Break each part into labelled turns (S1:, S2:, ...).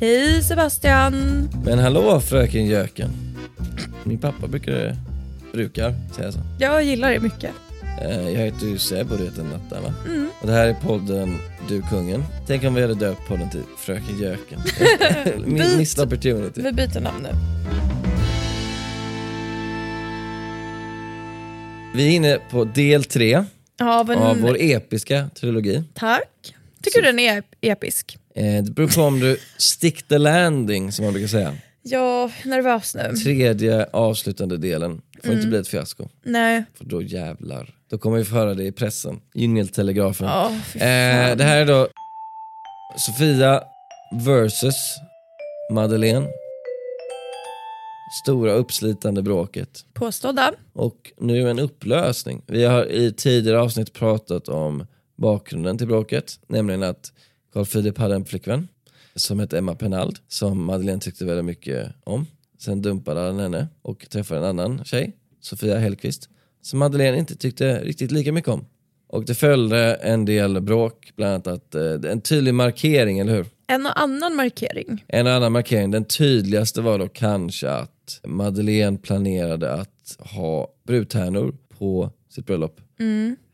S1: Hej Sebastian!
S2: Men hallå fröken Jöken. Min pappa brukar, brukar säga så.
S1: Jag gillar dig mycket.
S2: Eh, Jag heter ju Seb och du heter Natta va?
S1: Mm.
S2: Och det här är podden Du Kungen. Tänk om vi hade döpt podden till Fröken Jöken. Mi-
S1: Byt.
S2: Missed opportunity.
S1: Vi byter namn nu.
S2: Vi är inne på del tre
S1: Ja, men
S2: av vår episka trilogi.
S1: tack. Tycker du den är ep- episk?
S2: Eh, Det beror på om du stick the landing som man brukar säga.
S1: Jag är nervös nu.
S2: Tredje avslutande delen får
S1: Mm.
S2: inte bli ett fiasko.
S1: Nej.
S2: För då jävlar. Då kommer vi få höra det i pressen. Yngeltelegrafen.
S1: Ja, fy
S2: Eh,
S1: fan.
S2: det här är då Sofia versus Madeleine. Stora uppslitande bråket.
S1: Påstådda.
S2: Och nu en upplösning. Vi har i tidigare avsnitt pratat om bakgrunden till bråket. Nämligen att Carl Philip hade en flickvän som hette Emma Penald som Madeleine tyckte väldigt mycket om. Sen dumpade han henne och träffade en annan tjej, Sofia Hellqvist, som Madeleine inte tyckte riktigt lika mycket om. Och det följde en del bråk, bland annat att, eh, en tydlig markering, eller hur?
S1: En och annan markering.
S2: En annan markering, den tydligaste var då kanske att Madeleine planerade att ha brudtärnor på sitt bröllop.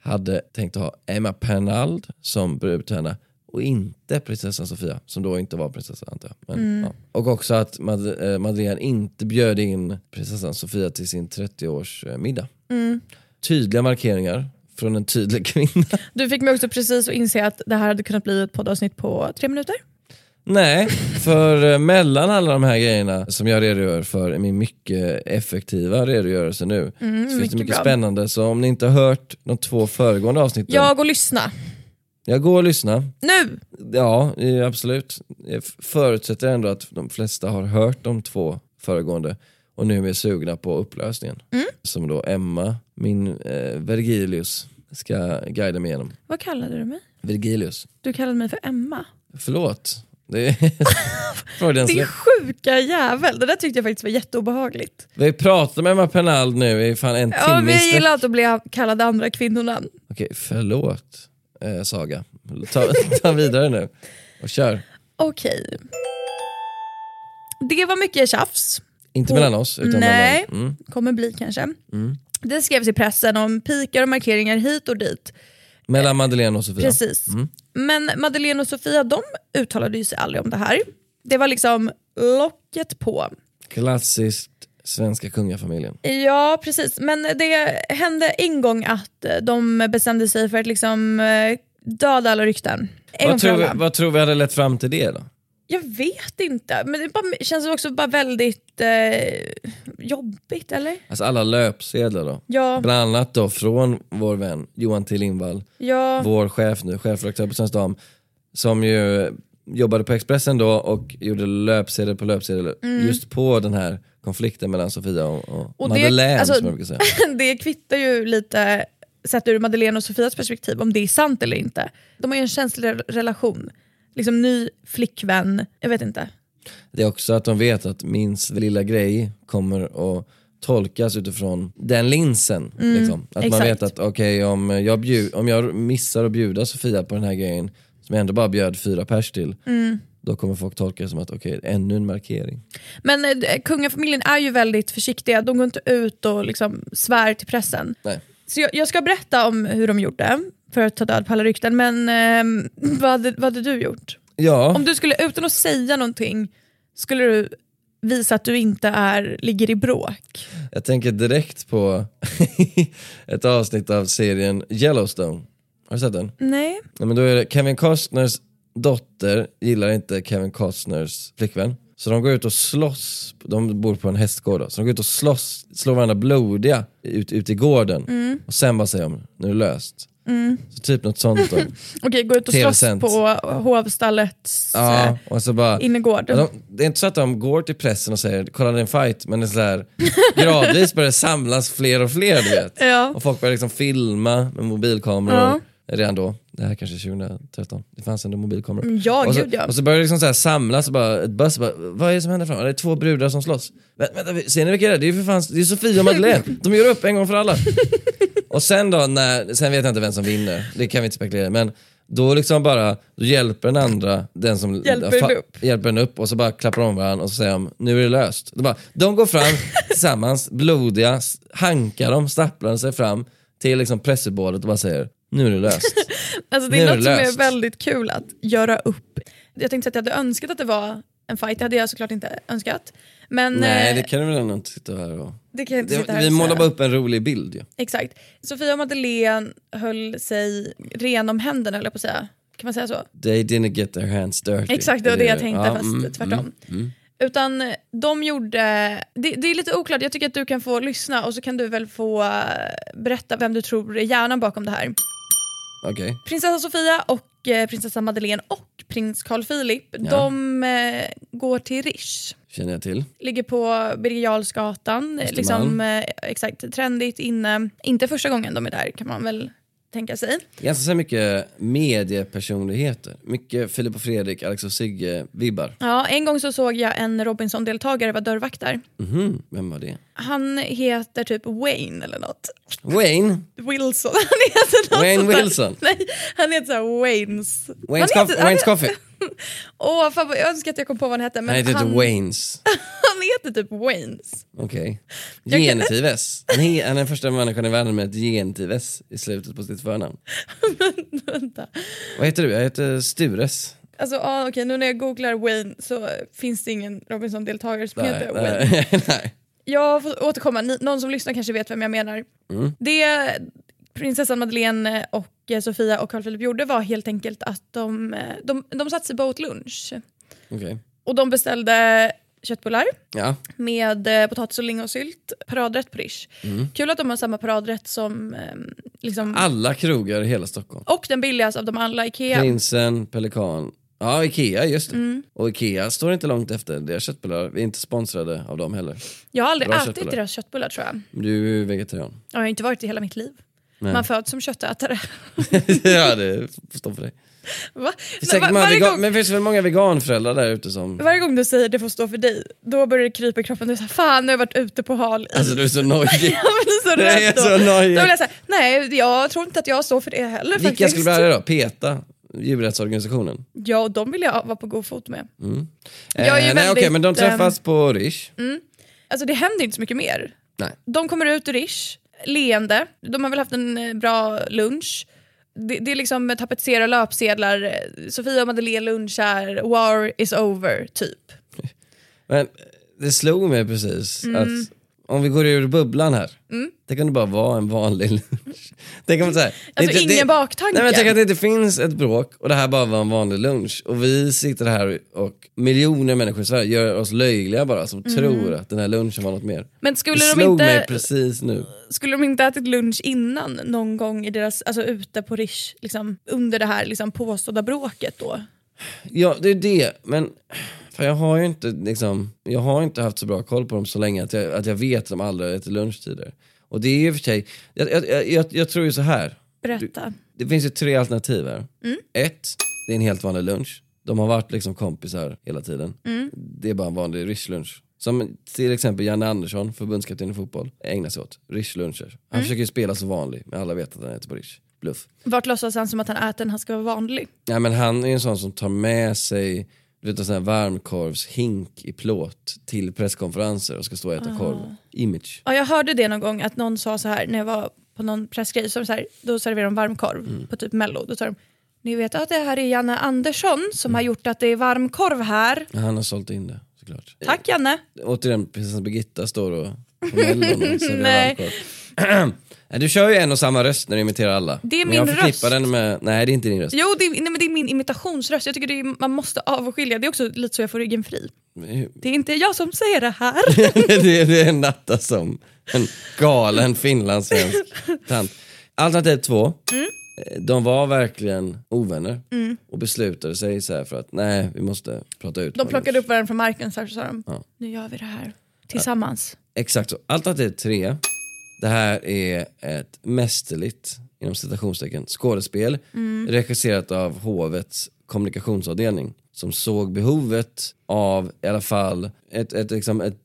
S2: Hade tänkt att ha Emma Pernald som brudtärna och inte prinsessan Sofia, som då inte var prinsessa antar jag. Men, ja. Och också att Mad- eh, Madeleine inte bjöd in prinsessan Sofia till sin 30-årsmiddag. Tydliga markeringar från en tydlig kvinna.
S1: Du fick mig också precis att inse att det här hade kunnat bli ett poddavsnitt på tre minuter.
S2: Nej, för eh, mellan alla de här grejerna som jag redogör för i min mycket effektiva redogörelse nu så finns det
S1: Mm, mycket
S2: mycket
S1: bra.
S2: spännande. Så om ni inte har hört de två föregående avsnitten,
S1: Jag går och lyssna.
S2: jag går och lyssnar.
S1: Nu!
S2: Ja, eh, absolut. Jag f- förutsätter ändå att de flesta har hört de två föregående och nu är sugna på upplösningen.
S1: Mm.
S2: Som då Emma, min eh, Vergilius, ska guida mig igenom.
S1: Vad kallade du mig?
S2: Vergilius.
S1: Du kallade mig för Emma.
S2: Förlåt. Det är... Freudian
S1: Din
S2: slip.
S1: sjuka jävel. Det där tyckte jag faktiskt var jätteobehagligt.
S2: Vi pratar med Emma Pernald nu i fan en
S1: Ja,
S2: timme.
S1: men jag
S2: istället.
S1: gillar inte att bli kallad andra kvinnonamn.
S2: Okej, förlåt eh, Saga. Ta, ta vidare nu och kör.
S1: Okej. Det var mycket tjafs.
S2: Inte
S1: Och-
S2: mellan oss, utan
S1: Nej.
S2: mellan... Mm.
S1: kommer bli kanske. Det skrevs i pressen om pikar och markeringar hit och dit.
S2: Mellan Madeleine och Sofia.
S1: Precis. Men Madeleine och Sofia de uttalade ju sig aldrig om det här. Det var liksom locket på.
S2: Klassiskt svenska kungafamiljen.
S1: Ja precis, men det hände en gång att eh, de bestämde sig för att liksom eh, döda alla rykten. En gång
S2: Vad
S1: för
S2: tror, vi,
S1: alla.
S2: vad tror vi hade lett fram till det då?
S1: Jag vet inte, men det bara, känns också bara väldigt eh, jobbigt eller?
S2: Alltså alla löpsedlar då.
S1: Ja,
S2: Bland annat då från vår vän Johan T Lindvall,
S1: ja.
S2: vår chef nu, chefredaktör på Svensk Dam, som ju jobbade på Expressen då och gjorde löpsedel på löpsedel just på den här konflikten mellan Sofia och, och,
S1: Mm. Och det-
S2: Madeleine
S1: alltså-
S2: som jag brukar säga.
S1: det kvittar ju lite, sett ur Madeleine och Sofias perspektiv, om det är sant eller inte. De har ju en känslig re- relation. Liksom ny flickvän, jag vet inte.
S2: Det är också att de vet att minst lilla grej kommer att tolkas utifrån den linsen. liksom. Att man
S1: Mm, exakt.
S2: vet att okej om, jag bjud- om jag missar att bjuda Sofia på den här grejen som jag ändå bara bjöd fyra pers till,
S1: Mm.
S2: då kommer folk tolka det som att okej, ännu en markering.
S1: Men eh, kungafamiljen är ju väldigt försiktiga, de går inte ut och liksom svär till pressen.
S2: Nej.
S1: Så jag, jag ska berätta om hur de gjorde för att ta död på alla rykten, men ehm, vad, hade, vad hade du gjort?
S2: Ja,
S1: Om du skulle, utan att säga någonting, skulle du visa att du inte är, ligger i bråk?
S2: jag tänker direkt på ett avsnitt av serien Yellowstone. Har du sett den?
S1: Nej.
S2: Ja, men då är det Kevin Costners dotter gillar inte Kevin Costners flickvän. Så de går ut och slåss, de bor på en hästgård då, så de går ut och slåss, slår varandra blodiga ut, ut i gården. Och sen bara säger de, nu är det löst. Så typ något sånt då.
S1: Okej, gå ut och slåss
S2: TV-sänt.
S1: på hovstallets eh,
S2: Ja, och så bara,
S1: innergård.
S2: Ja, de, det är inte så att de går till pressen och säger “kolla det är en fight” men det är så här, gradvis börjar det samlas fler och fler du vet.
S1: Ja.
S2: Och folk börjar liksom filma med mobilkameror.
S1: Ja.
S2: Redan då, det här kanske är 2013, det fanns ändå mobilkameror.
S1: ja,
S2: och, så,
S1: gud, ja.
S2: och så börjar det liksom så här samlas och bara, ett buzz bara, vad är det som händer fram? Det är två brudar som slåss. Vä- Vänta, ser ni vilka det är? Det är ju för fan, det är Sofia och Madeleine. De gör upp en gång för alla. Och sen då, när, sen vet jag inte vem som vinner, det kan vi inte spekulera i, men då liksom bara, då hjälper den andra den som
S1: Hjälper
S2: fa-
S1: den upp.
S2: hjälper den upp och så bara klappar de om varandra och så säger de nu är det löst. De, bara, de går fram tillsammans, blodiga, s- hankar de, stapplar sig fram till liksom pressuppbådet och bara säger nu är det löst.
S1: Alltså det
S2: Nu
S1: är
S2: är
S1: något
S2: det
S1: som är
S2: löst.
S1: väldigt kul att göra upp. Jag tänkte säga att jag hade önskat att det var en fight, det hade jag såklart inte önskat. Men
S2: Nej
S1: eh,
S2: det kan du väl ändå inte sitta här och...
S1: det kan jag inte
S2: Det,
S1: sitta här
S2: vi
S1: och
S2: målar
S1: säga.
S2: bara upp en rolig bild ju.
S1: Exakt. Sofia och Madeleine höll sig ren om händerna höll jag på att säga. Kan man säga så?
S2: They didn't get their hands dirty.
S1: Exakt, det var det jag
S2: Eller-
S1: tänkte
S2: Ja,
S1: fast
S2: mm,
S1: tvärtom.
S2: mm.
S1: Utan eh, de gjorde, det, det är lite oklart, jag tycker att du kan få lyssna och så kan du väl få eh, berätta vem du tror är hjärnan bakom det här.
S2: Okej.
S1: Prinsessa Sofia och eh, prinsessa Madeleine och prins Carl Philip, de eh, går till Rish.
S2: Känner jag till.
S1: Ligger på Birger Jarlsgatan, eh, liksom,
S2: Östermalm.
S1: eh, exakt, trendigt inne. Inte första gången de är där kan man väl tänka sig.
S2: Ganska så här mycket mediepersonligheter. Mycket Filip och Fredrik, Alex och Sigge-vibbar.
S1: Ja, en gång så såg jag en Robinson-deltagare vara dörrvakt där.
S2: Mhm, Vem var det?
S1: Han heter typ Wayne eller något.
S2: Wayne?
S1: Wilson. Han heter något
S2: Wayne
S1: sånt där.
S2: Wilson.
S1: Nej, han heter såhär Waynes.
S2: Wayne's,
S1: han
S2: coff-
S1: heter, han
S2: Wayne's
S1: heter,
S2: Coffee?
S1: åh, fan, vad- jag önskar att jag kom på vad han hette. Men
S2: Nej, det heter
S1: han,
S2: Waynes.
S1: han heter typ Waynes.
S2: Okej.
S1: Jag kan-
S2: Genitiv S. Han he- han är den första människan i världen med ett genitiv S i slutet på sitt förnamn.
S1: Vänta.
S2: Vad heter du? Jag heter Stures.
S1: Alltså, ah, okej, nu när jag googlar Wayne så eh, finns det ingen Robinson-deltagare som heter Wayne.
S2: nej.
S1: Jag får återkomma, Ni, någon som lyssnar kanske vet vem jag menar.
S2: Mm.
S1: Det prinsessan Madeleine och eh, Sofia och Carl Philip gjorde var helt enkelt att de, eh, de, de satt sig på åt lunch.
S2: Okej.
S1: Och de beställde köttbullar
S2: Ja.
S1: med eh, potatis och lingonsylt, paradrätt på Rish.
S2: Mm.
S1: Kul att de har samma paradrätt som eh, liksom,
S2: Alla krogar i hela Stockholm.
S1: och den billigaste av dem alla, Ikea.
S2: Prinsen, Pelikan. Ja, Ikea, just det.
S1: Mm.
S2: Och Ikea står inte långt efter deras köttbullar. Vi är inte sponsrade av dem heller.
S1: Jag har aldrig
S2: Bra
S1: ätit
S2: köttbullar.
S1: deras köttbullar tror jag.
S2: Men Du är ju vegetarian.
S1: Jag har inte varit i hela mitt liv. Man föds som köttätare.
S2: ja, det får stå för dig.
S1: Va?
S2: Det
S1: Nej,
S2: finns säkert
S1: va-
S2: många
S1: varje,
S2: vegan-
S1: gång,
S2: Men det finns väl många veganföräldrar där ute som...
S1: varje gång du säger det får stå för dig, då börjar det krypa i kroppen. Du är så här, fan nu har jag varit ute på hal is."
S2: Alltså du är så nojig.
S1: Jag blir så
S2: Jag är
S1: rädd då.
S2: så nojig.
S1: Då blir jag så här, nej jag tror inte att jag står för det heller
S2: Vilka
S1: faktiskt.
S2: skulle bli arga då? PETA? Djurrättsorganisationen?
S1: Ja, och de vill jag vara på god fot med.
S2: Eh,
S1: Jag är ju
S2: nej,
S1: väldigt, ehm,
S2: okej, men de träffas på Rish.
S1: Alltså det händer inte så mycket mer.
S2: Nej.
S1: De kommer ut ur Rish, leende. De har väl haft en eh, bra lunch. Det, det är liksom tapetsera löpsedlar. eh, Sofia och Madeleine lunchar. War is over, typ.
S2: Men eh, det slog mig precis
S1: Mm.
S2: att om vi går ur bubblan här. Det kunde bara vara en vanlig lunch. Tänk om så här, det är
S1: Alltså, ingen baktanke.
S2: Nej, men tänk att det inte finns ett bråk och det här bara var en vanlig lunch. Och vi sitter här och miljoner människor i Sverige gör oss löjliga bara som tror att den här lunchen var något mer.
S1: Mm. Men
S2: Det
S1: skulle de,
S2: slog mig
S1: inte,
S2: precis nu.
S1: skulle de inte ätit lunch innan någon gång i deras, alltså ute på Rish, liksom, under det här liksom, påstådda bråket då?
S2: Ja, det är det. Men fan, jag har ju inte liksom, jag har inte haft så bra koll på dem så länge att jag, att jag vet att de aldrig äter lunchtider. Och det är ju i och för sig, jag, jag, jag, jag, jag tror ju så här.
S1: Berätta.
S2: Det finns ju tre alternativ här. Ett, det är en helt vanlig lunch. De har varit liksom kompisar hela tiden. Det är bara en vanlig rischlunch. Som till exempel Janne Andersson, förbundskapten i fotboll, ägnar sig åt. Rischluncher. Han försöker ju spela så vanlig, men alla vet att han äter på risch. Bluff.
S1: Vart låtsas han som att han äter när han ska vara vanlig?
S2: Nej men han är ju en sån som tar med sig du vet, en sån här varmkorvshink i plåt till presskonferenser och ska stå och äta
S1: Ah.
S2: korv. Image.
S1: Ja, jag hörde det någon gång att någon sa så här när jag var på någon pressgrej, så var det så här, då serverar de varmkorv på typ mello. Då sa de, ni vet att det här är Janne Andersson som har gjort att det är varmkorv här.
S2: Han har sålt in det såklart.
S1: Tack Janne.
S2: Återigen, prinsessan Birgitta står och på Mellon och serverar
S1: Nej.
S2: varmkorv. Nej, Du kör ju en och samma röst när du imiterar alla.
S1: Det är
S2: Men jag
S1: min
S2: förknippar
S1: röst.
S2: den med... Nej, det är inte din röst.
S1: Jo, det är, nej, men det är min imitationsröst. Jag tycker det är, man måste avskilja. Det är också lite så jag får ryggen fri. Det är inte jag som säger det här.
S2: det, det är Natta som en galen finlandssvensk tant. Alternativ två.
S1: Mm.
S2: eh, De var verkligen ovänner och beslutade sig så här för att nej, vi måste prata ut.
S1: De
S2: Magnus.
S1: plockade upp varandra från marken så här, så sa de, nu gör vi det här tillsammans.
S2: Exakt så. Alternativ tre. Det här är ett mästerligt, inom citationstecken, skådespel regisserat av hovets kommunikationsavdelning som såg behovet av i alla fall ett, ett, liksom, ett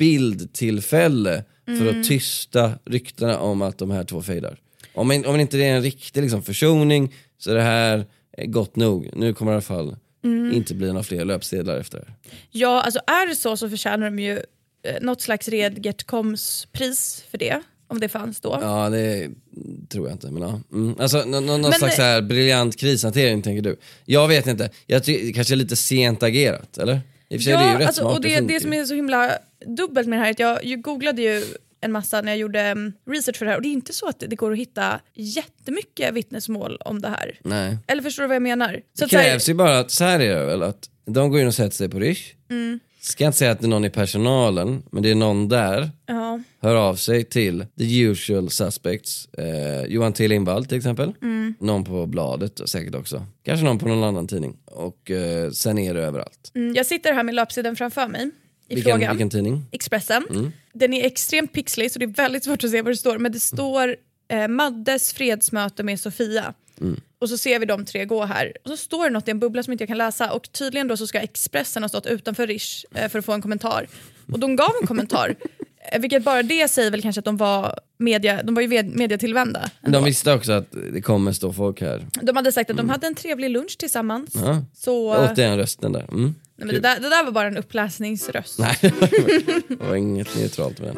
S2: bildtillfälle för att tysta ryktena om att de här två fejdar. Om, en- om inte det är en riktig liksom, försoning så är det här eh, gott nog. Nu kommer det i alla fall inte bli några fler löpsedlar efter det här.
S1: Ja, alltså är det så så förtjänar de ju eh, något slags Redgert Koms pris för det. Om det fanns då.
S2: Ja, det tror jag inte. Men, ja. mm. alltså, nå- nå- någon
S1: Men- eh,
S2: slags så här briljant krishantering tänker du. Jag vet inte, jag tycker det kanske är lite sent agerat, eller? I och för sig är det ju rätt smart.
S1: alltså, och det,
S2: funkar
S1: det som
S2: ju.
S1: är så himla dubbelt med det här är att jag ju googlade ju en massa när jag gjorde mm, research för det här och det är inte så att det går att hitta jättemycket vittnesmål om det här.
S2: Nej.
S1: Eller förstår du vad jag menar? Så
S2: Det
S1: att så här,
S2: krävs ju bara att, så här är det väl, att de går in och sätter sig på Rish.
S1: Mm.
S2: Ska inte säga att det är någon i personalen, men det är någon där.
S1: ja,
S2: Hör av sig till the usual suspects. Eh, Johan T Lindvall till exempel.
S1: Mm.
S2: Någon på Bladet och säkert också. Kanske någon på någon annan tidning. Och eh, sen är det överallt.
S1: mm, jag sitter här med löpsedeln framför mig i
S2: Vilken,
S1: frågan.
S2: vilken tidning?
S1: Expressen.
S2: Mm.
S1: Den är extremt pixlig så det är väldigt svårt att se vad det står. Men det står eh, Maddes fredsmöte med Sofia.
S2: Mm.
S1: Och så ser vi de tre gå här. Och så står det något i en bubbla som inte jag kan läsa och tydligen då så ska Expressen ha stått utanför Rish eh, för att få en kommentar. Och de gav en kommentar. Eh, Vilket bara det säger väl kanske att de var, media, de var ju ved- mediatillvända.
S2: De visste också att det kommer stå folk här.
S1: De hade sagt att de hade en trevlig lunch tillsammans.
S2: Mm. Ja.
S1: Så
S2: Återigen rösten där. Mm.
S1: nej, men det, där, det där var bara en uppläsningsröst.
S2: Nej, det var inget neutralt med den.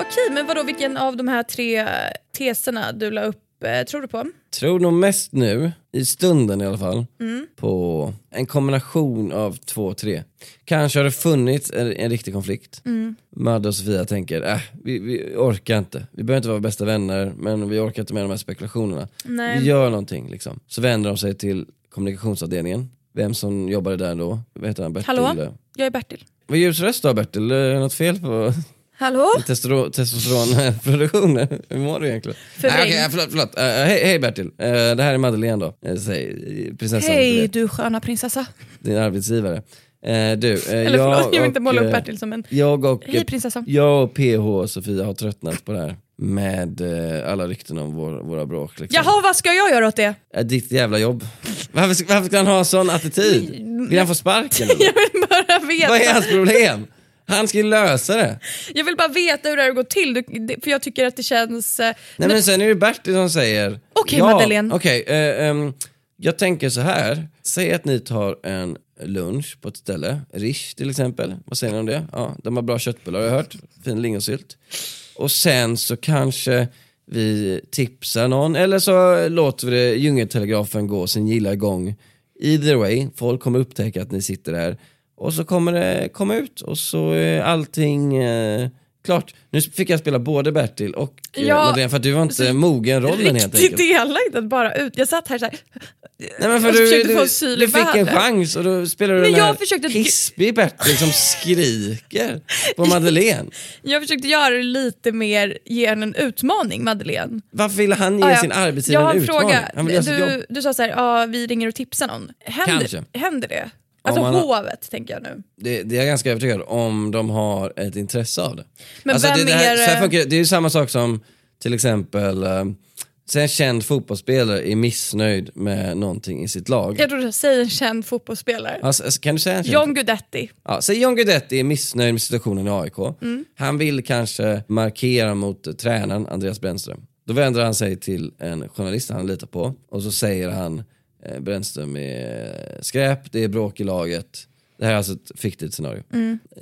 S1: Okej, men vadå, vilken av de här tre eh, teserna du la upp eh, tror du på?
S2: Tror nog mest nu, i stunden i alla fall,
S1: Mm.
S2: på en kombination av två, tre. Kanske har det funnits en, en riktig konflikt.
S1: Mm.
S2: Madde och Sofia tänker, äh, vi, vi orkar inte. Vi behöver inte vara bästa vänner, men vi orkar inte med de här spekulationerna.
S1: Nej.
S2: Vi gör någonting liksom. Så vänder de sig till kommunikationsavdelningen. Vem som jobbade där då? Vad heter han? Bertil?
S1: Hallå? Jag är Bertil.
S2: Vad ljus röst du har Bertil, är det något fel på
S1: Hallå?
S2: Testo- testosteronproduktionen. Hur mår du egentligen?
S1: Förvrängd.
S2: Nej, okej, förlåt, förlåt. Eh, hej, hej Bertil, Eh, det här är Madeleine då, Eh, säg, prinsessan,
S1: Hej
S2: du
S1: du sköna prinsessa.
S2: vet, din arbetsgivare. Eh, du, eh,
S1: Eller
S2: jag,
S1: förlåt, jag vill inte
S2: och,
S1: måla upp
S2: eh,
S1: Bertil som en...
S2: Jag och,
S1: Hej prinsessan.
S2: jag och PH och Sofia har tröttnat på det här med eh, alla rykten om vår, våra bråk. Liksom.
S1: Jaha, vad ska jag göra åt det?
S2: Eh, ditt jävla jobb. Varför, ska- varför ska han ha sån attityd? Vill han få sparken? eller?
S1: Jag vill bara
S2: Vad är
S1: veta,
S2: hans problem? Han ska ju lösa det.
S1: jag vill bara veta hur det här går till, du, det, för jag tycker att det känns... eh,
S2: Nej men sen är det Bertil som säger...
S1: Okej, Madeleine.
S2: Okej, eh, ehm, jag tänker så här. Säg att ni tar en lunch på ett ställe, Rish till exempel. Vad säger ni om det? Ja, de har bra köttbullar har jag hört. Fin lingonsylt. Och sen så kanske vi tipsar någon eller så låter vi det djungeltelegrafen gå sin gilla gång. Either way, folk kommer upptäcka att ni sitter där och så kommer det komma ut och så är allting eh, klart, nu fick jag spela både Bertil och eh,
S1: Ja,
S2: Madeleine för att du var
S1: Alltså,
S2: inte mogen rollen helt
S1: Riktigt
S2: enkelt.
S1: elakt att bara ut. Jag satt här såhär,
S2: Nej, men för
S1: jag
S2: du,
S1: försökte få
S2: du,
S1: asyl
S2: du
S1: i
S2: fick en
S1: världen.
S2: chans och då spelade du
S1: Men
S2: den
S1: jag
S2: här
S1: försökte-
S2: hispig Bertil som skriker på Madeleine.
S1: jag försökte göra det lite mer, ge henne en utmaning Madeleine.
S2: Varför ville han ge
S1: Ja, ja.
S2: sin
S1: Jag
S2: arbetsgivare
S1: har
S2: en
S1: en
S2: utmaning? alltså,
S1: fråga.
S2: Han ville göra sitt jobb.
S1: Du, du sa såhär, ja vi ringer och tipsar någon.
S2: Kanske.
S1: Händer, händer det? Alltså
S2: man har-
S1: hovet tänker jag nu.
S2: Det, det är jag ganska övertygad om de har ett intresse av det. Alltså,
S1: Men vem
S2: det, det, här,
S1: är
S2: så här
S1: det?
S2: funkar, det är ju samma sak som till exempel, eh, säg en känd fotbollsspelare är missnöjd med någonting i sitt lag.
S1: Jag trodde, säg en känd fotbollsspelare.
S2: Alltså, alltså, kan du säga en känd?
S1: John Guidetti.
S2: Ja, säg John Guidetti är missnöjd med situationen i AIK. Han vill kanske markera mot eh, tränaren Andreas Brännström. Då vänder han sig till en journalist han litar på och så säger han eh, Brännström är skräp, det är bråk i laget. Det här är alltså ett fiktivt scenario.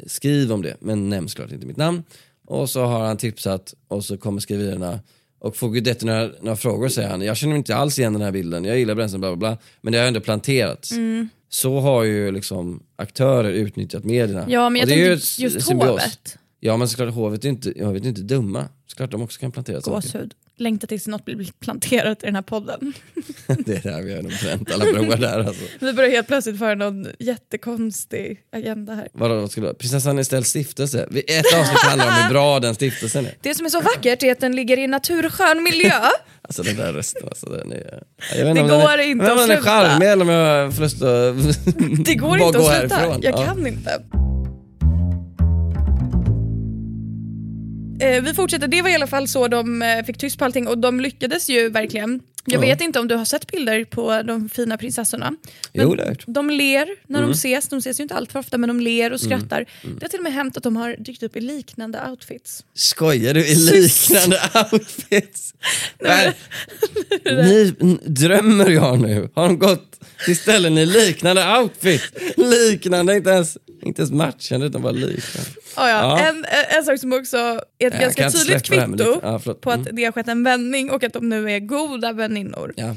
S2: Skriv om det, men nämn såklart inte mitt namn. Och så har han tipsat och så kommer skriverierna och får Guidetti några, några frågor säger han, jag känner inte alls igen den här bilden, jag gillar Brännström bla bla bla, men det har ändå planterats.
S1: Mm.
S2: Så har ju liksom aktörer utnyttjat medierna.
S1: Ja men jag
S2: Och det är ju
S1: tänkte
S2: ett
S1: just
S2: symbios.
S1: hovet.
S2: Ja men såklart hovet är ju inte, hovet är ju inte dumma. Såklart de också kan plantera saker.
S1: Gåshud. Längtar tills något blir planterat i den här podden.
S2: det är där vi har nog bränt alla broar där alltså.
S1: Vi börjar helt plötsligt föra någon jättekonstig agenda här.
S2: Vadå, vad skulle det vara? Prinsessan Estelles stiftelse? Vi- Ett avsnitt handlar om hur bra den stiftelsen är.
S1: Det som är så vackert är att den ligger i en naturskön miljö.
S2: Alltså den där rösten alltså, den är... Jag vet
S1: Det
S2: om
S1: går
S2: den är,
S1: inte
S2: jag
S1: att
S2: vet om den är
S1: sluta.
S2: charmig eller om jag får lust att
S1: Det går
S2: bara
S1: inte
S2: gå
S1: att sluta.
S2: härifrån.
S1: Jag
S2: Ja.
S1: kan inte. Eh, vi fortsätter, det var i alla fall så de eh, fick tyst på allting och de lyckades ju verkligen. Jag
S2: Ja.
S1: vet inte om du har sett bilder på de fina prinsessorna. Men
S2: Jo det har jag gjort. Mm.
S1: De ler när de ses, de ses ju inte alltför ofta men de ler och skrattar. Det har till och med hänt att de har dykt upp i liknande outfits.
S2: Skojar du i
S1: Sys.
S2: liknande outfits? Nej, ni, n- drömmer jag nu? Har de gått till ställen i liknande outfits? Liknande, inte ens, inte ens matchande utan bara liknande.
S1: Ah, ja.
S2: Ja. Eh,
S1: En, en- en sak som också är ett
S2: jag kan
S1: ganska
S2: inte
S1: tydligt
S2: släppa det här med
S1: kvitto
S2: lite- ja, förlåt.
S1: på att
S2: Mm.
S1: det har skett en vändning och att de nu är goda väninnor.
S2: Ja.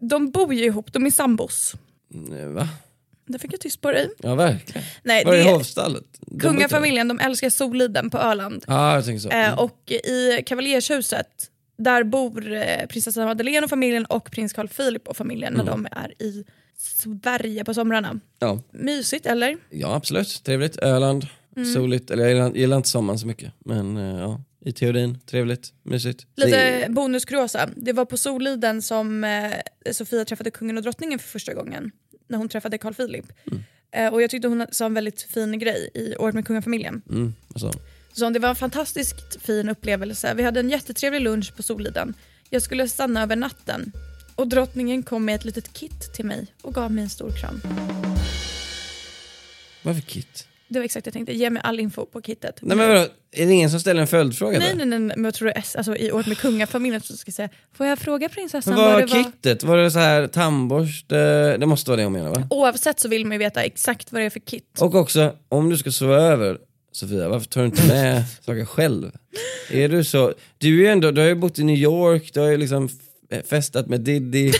S1: De bor ju ihop, de är sambos.
S2: Mm, Va?
S1: Där fick jag tyst på dig.
S2: Ja verkligen.
S1: Nej,
S2: Var
S1: det
S2: är
S1: är
S2: hovstallet? De brukar-
S1: kungafamiljen, de älskar Soliden på Öland.
S2: Ja, jag tänker så.
S1: Eh, och i kavaljershuset, där bor eh, prinsessan Madeleine och familjen och prins Carl Philip och familjen när de är i Sverige på somrarna.
S2: Ja.
S1: Mysigt eller?
S2: ja, absolut. Trevligt. Öland,
S1: Mm.
S2: soligt. Eller jag gillar, gillar inte sommaren så mycket. Men eh, ja, i teorin, trevligt, mysigt.
S1: Lite bonus kuriosa. Det var på Soliden som eh, Sofia träffade kungen och drottningen för första gången. När hon träffade Carl Philip. Eh, och jag tyckte hon sa en väldigt fin grej i året med kungafamiljen.
S2: Mm, alltså.
S1: Så det var en fantastiskt fin upplevelse. Vi hade en jättetrevlig lunch på Soliden. Jag skulle stanna över natten. Och drottningen kom med ett litet kit till mig och gav mig en stor kram.
S2: Varför Kit?
S1: Det var exakt det jag tänkte. Ge mig all info på kittet.
S2: Nej men vadå, är det ingen som ställer en följdfråga
S1: Mm. nej,
S2: där?
S1: nej, nej, nej. Men jag tror det är, alltså, i året med kungafamiljen så ska jag säga, får jag fråga prinsessan
S2: Men vad
S1: vad
S2: var
S1: det var?
S2: kittet? Var det så här tandborste? Det måste vara det hon menar va?
S1: Oavsett så vill man ju veta exakt vad det är för kit.
S2: Och också, om du ska sova över Sofia, varför tar du inte med saker själv? Är du så... Du, är ju ändå, du har ju bott i New York, du har ju liksom f- festat med Diddy,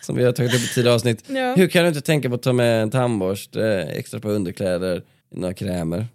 S2: som vi har tagit upp i tidigare avsnitt.
S1: Ja.
S2: Hur kan du inte tänka på att ta med en tandborste, eh, extra på underkläder, några krämer?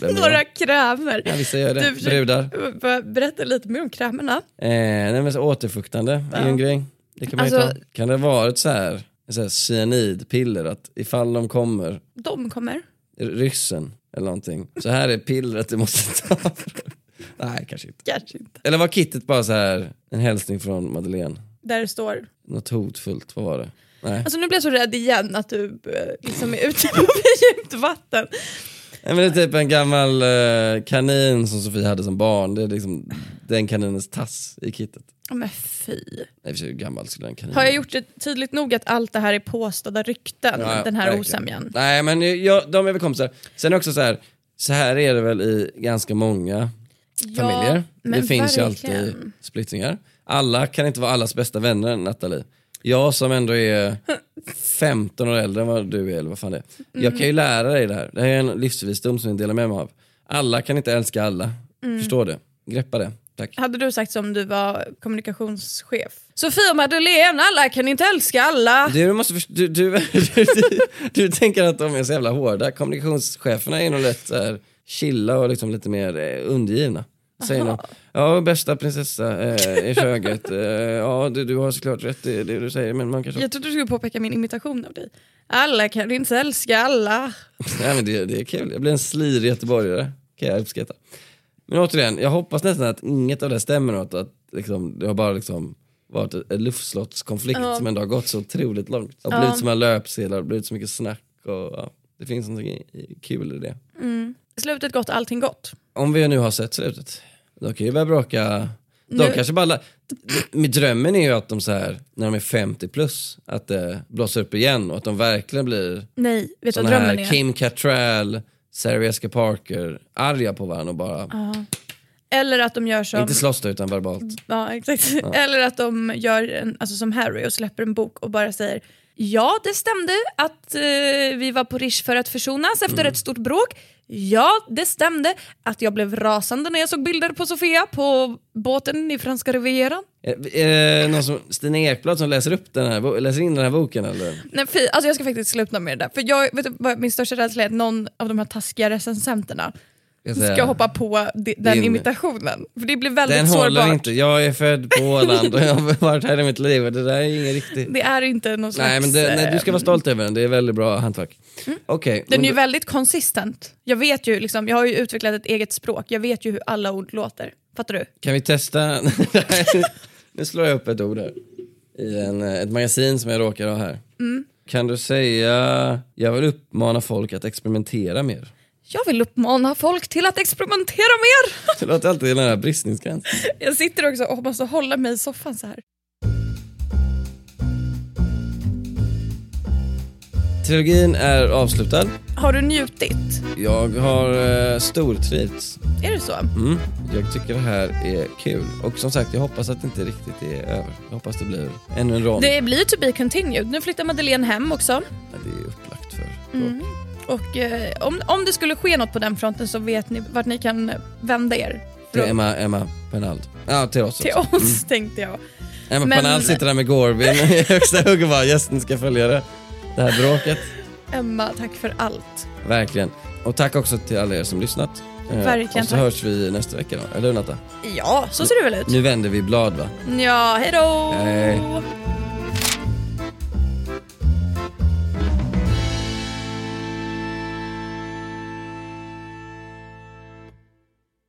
S2: Vem är jag?
S1: Några krämer.
S2: Ja, vissa gör det.
S1: Du-
S2: Brudar.
S1: Bara Berätta lite mer om krämerna.
S2: Eh, nej men så återfuktande är ju en grej. Det kan, man ju
S1: Alltså-
S2: ta. kan det ha varit så här, så här cyanidpiller att ifall de kommer,
S1: De kommer.
S2: r- ryssen eller någonting, så här är pillret du måste ta. nej kanske inte.
S1: Kanske inte.
S2: Eller var kittet bara så här en hälsning från Madeleine?
S1: Där det står.
S2: Något hotfullt, vad var det? Nej.
S1: Alltså nu blir jag så rädd igen att du eh, liksom är ute på djupt vatten.
S2: Nej, men det är typ en gammal eh, kanin som Sofie hade som barn, det är liksom den kaninens tass i kittet.
S1: Ja, Men fy.
S2: Nej för sig, hur gammal skulle den kaninen
S1: Har
S2: vara?
S1: jag gjort det tydligt nog att allt det här är påstådda rykten,
S2: Ja,
S1: den här
S2: verkligen.
S1: osämjan?
S2: Nej men jag, de är väl kompisar. Sen också så här, så här är det väl i ganska många familjer. det finns ju alltid
S1: verkligen.
S2: splittringar. Alla kan inte vara allas bästa vänner Nathalie. Jag som ändå är 15 år äldre än vad du är eller vad fan det är. Jag kan ju lära dig det här. Det här är en livsvisdom som jag delar med mig av. Alla kan inte älska alla. Förstår du? Greppa det. Tack.
S1: Hade du sagt som du var kommunikationschef? Sofia och Madeleine, alla kan inte älska alla.
S2: Du, måste först- du, du, du, du, du tänker att de är så jävla hårda. Kommunikationscheferna är nog rätt så här chilla och liksom lite mer eh, undergivna. Säger någon, ja bästa prinsessa eh, i köket, eh, ja du, du har såklart rätt i det du säger men man kanske...
S1: Jag trodde du skulle påpeka min imitation av dig. Alla kan inte älska alla.
S2: Nej men det, det är kul, jag blir en slirig göteborgare. Kan jag uppskatta. Men återigen, jag hoppas nästan att inget av det stämmer och att, att liksom, det har bara liksom varit en luftslottskonflikt som ändå har gått så otroligt långt. Det har blivit så många löpsedlar, det har blivit så mycket snack och ja, det finns något kul i det.
S1: Slutet gott, allting gott.
S2: Om vi nu har sett slutet, då kan ju börja bråka. De kanske bara... la- Min drömmen är ju att de så här, när de är 50 plus, att det blåser upp igen och att de verkligen blir
S1: Nej, vet du vad
S2: såna här
S1: drömmen är?
S2: Kim Cattrall, Sarah Jessica Parker, arga på varandra och bara,
S1: Eller att de gör som...
S2: inte slåss då, utan verbalt.
S1: Ja, exakt. Eller att de gör en, alltså som Harry och släpper en bok och bara säger Ja, det stämde att eh, vi var på Rish för att försonas efter
S2: Mm.
S1: ett stort bråk. Ja, det stämde att jag blev rasande när jag såg bilder på Sofia på båten i franska rivieran.
S2: Eh, Är det någon som, Stina Ekblad som läser upp den här, bo- läser in den här boken eller?
S1: Nej, fy, alltså jag ska faktiskt sluta med det där. För jag, vet du, vad min största rädsla är att någon av de här taskiga recensenterna
S2: Jag säger,
S1: ska hoppa på de, den
S2: Alltså, Din-
S1: imitationen. För det blir väldigt
S2: Den håller
S1: sårbart.
S2: inte, jag är född på Åland och jag har varit här i mitt liv och det där är ingen riktig...
S1: Det är inte någon slags...
S2: Nej men det, nej, du ska
S1: eh,
S2: vara stolt över den, det är väldigt bra hantverk. Okej,
S1: Mm. Den
S2: men
S1: är ju
S2: då-
S1: väldigt konsistent. Jag vet ju, liksom, jag har ju utvecklat ett eget språk. Jag vet ju hur alla ord låter. Fattar du?
S2: kan vi testa? nu slår jag upp ett ord här. I en, eh, ett magasin som jag råkar ha här.
S1: Mm.
S2: Kan du säga, jag vill uppmana folk att experimentera mer.
S1: Jag vill uppmana folk till att experimentera mer.
S2: Det låter alltid i den här bristningsgränsen.
S1: Jag sitter också och måste hålla mig i soffan så här.
S2: Trilogin är avslutad.
S1: Har du njutit?
S2: Jag har eh, stortrivts.
S1: Är det så?
S2: Mm. Jag tycker det här är kul. Och som sagt, jag hoppas att det inte riktigt är över. Jag hoppas det blir ännu en rond.
S1: Det blir ju to be continued. Nu flyttar Madeleine hem också.
S2: Ja, det är upplagt för.
S1: Mm. Och eh, om, om det skulle ske något på den fronten så vet ni vart ni kan vända er.
S2: Till Emma, Mm. Emma Penald. Ja, till oss
S1: Till
S2: också.
S1: oss tänkte jag.
S2: Emma
S1: Men-
S2: Penald sitter där med Gorbin i högsta hugg och bara gästen ska följa det. Det här bråket.
S1: Emma, tack för allt.
S2: Verkligen. Och tack också till alla er som lyssnat. Eh,
S1: Verkligen,
S2: Och så
S1: tack.
S2: hörs vi nästa vecka då. Eller hur Natta?
S1: Ja, så ser det väl ut.
S2: Nu vänder vi blad va?
S1: Ja, hej då!
S2: Hej.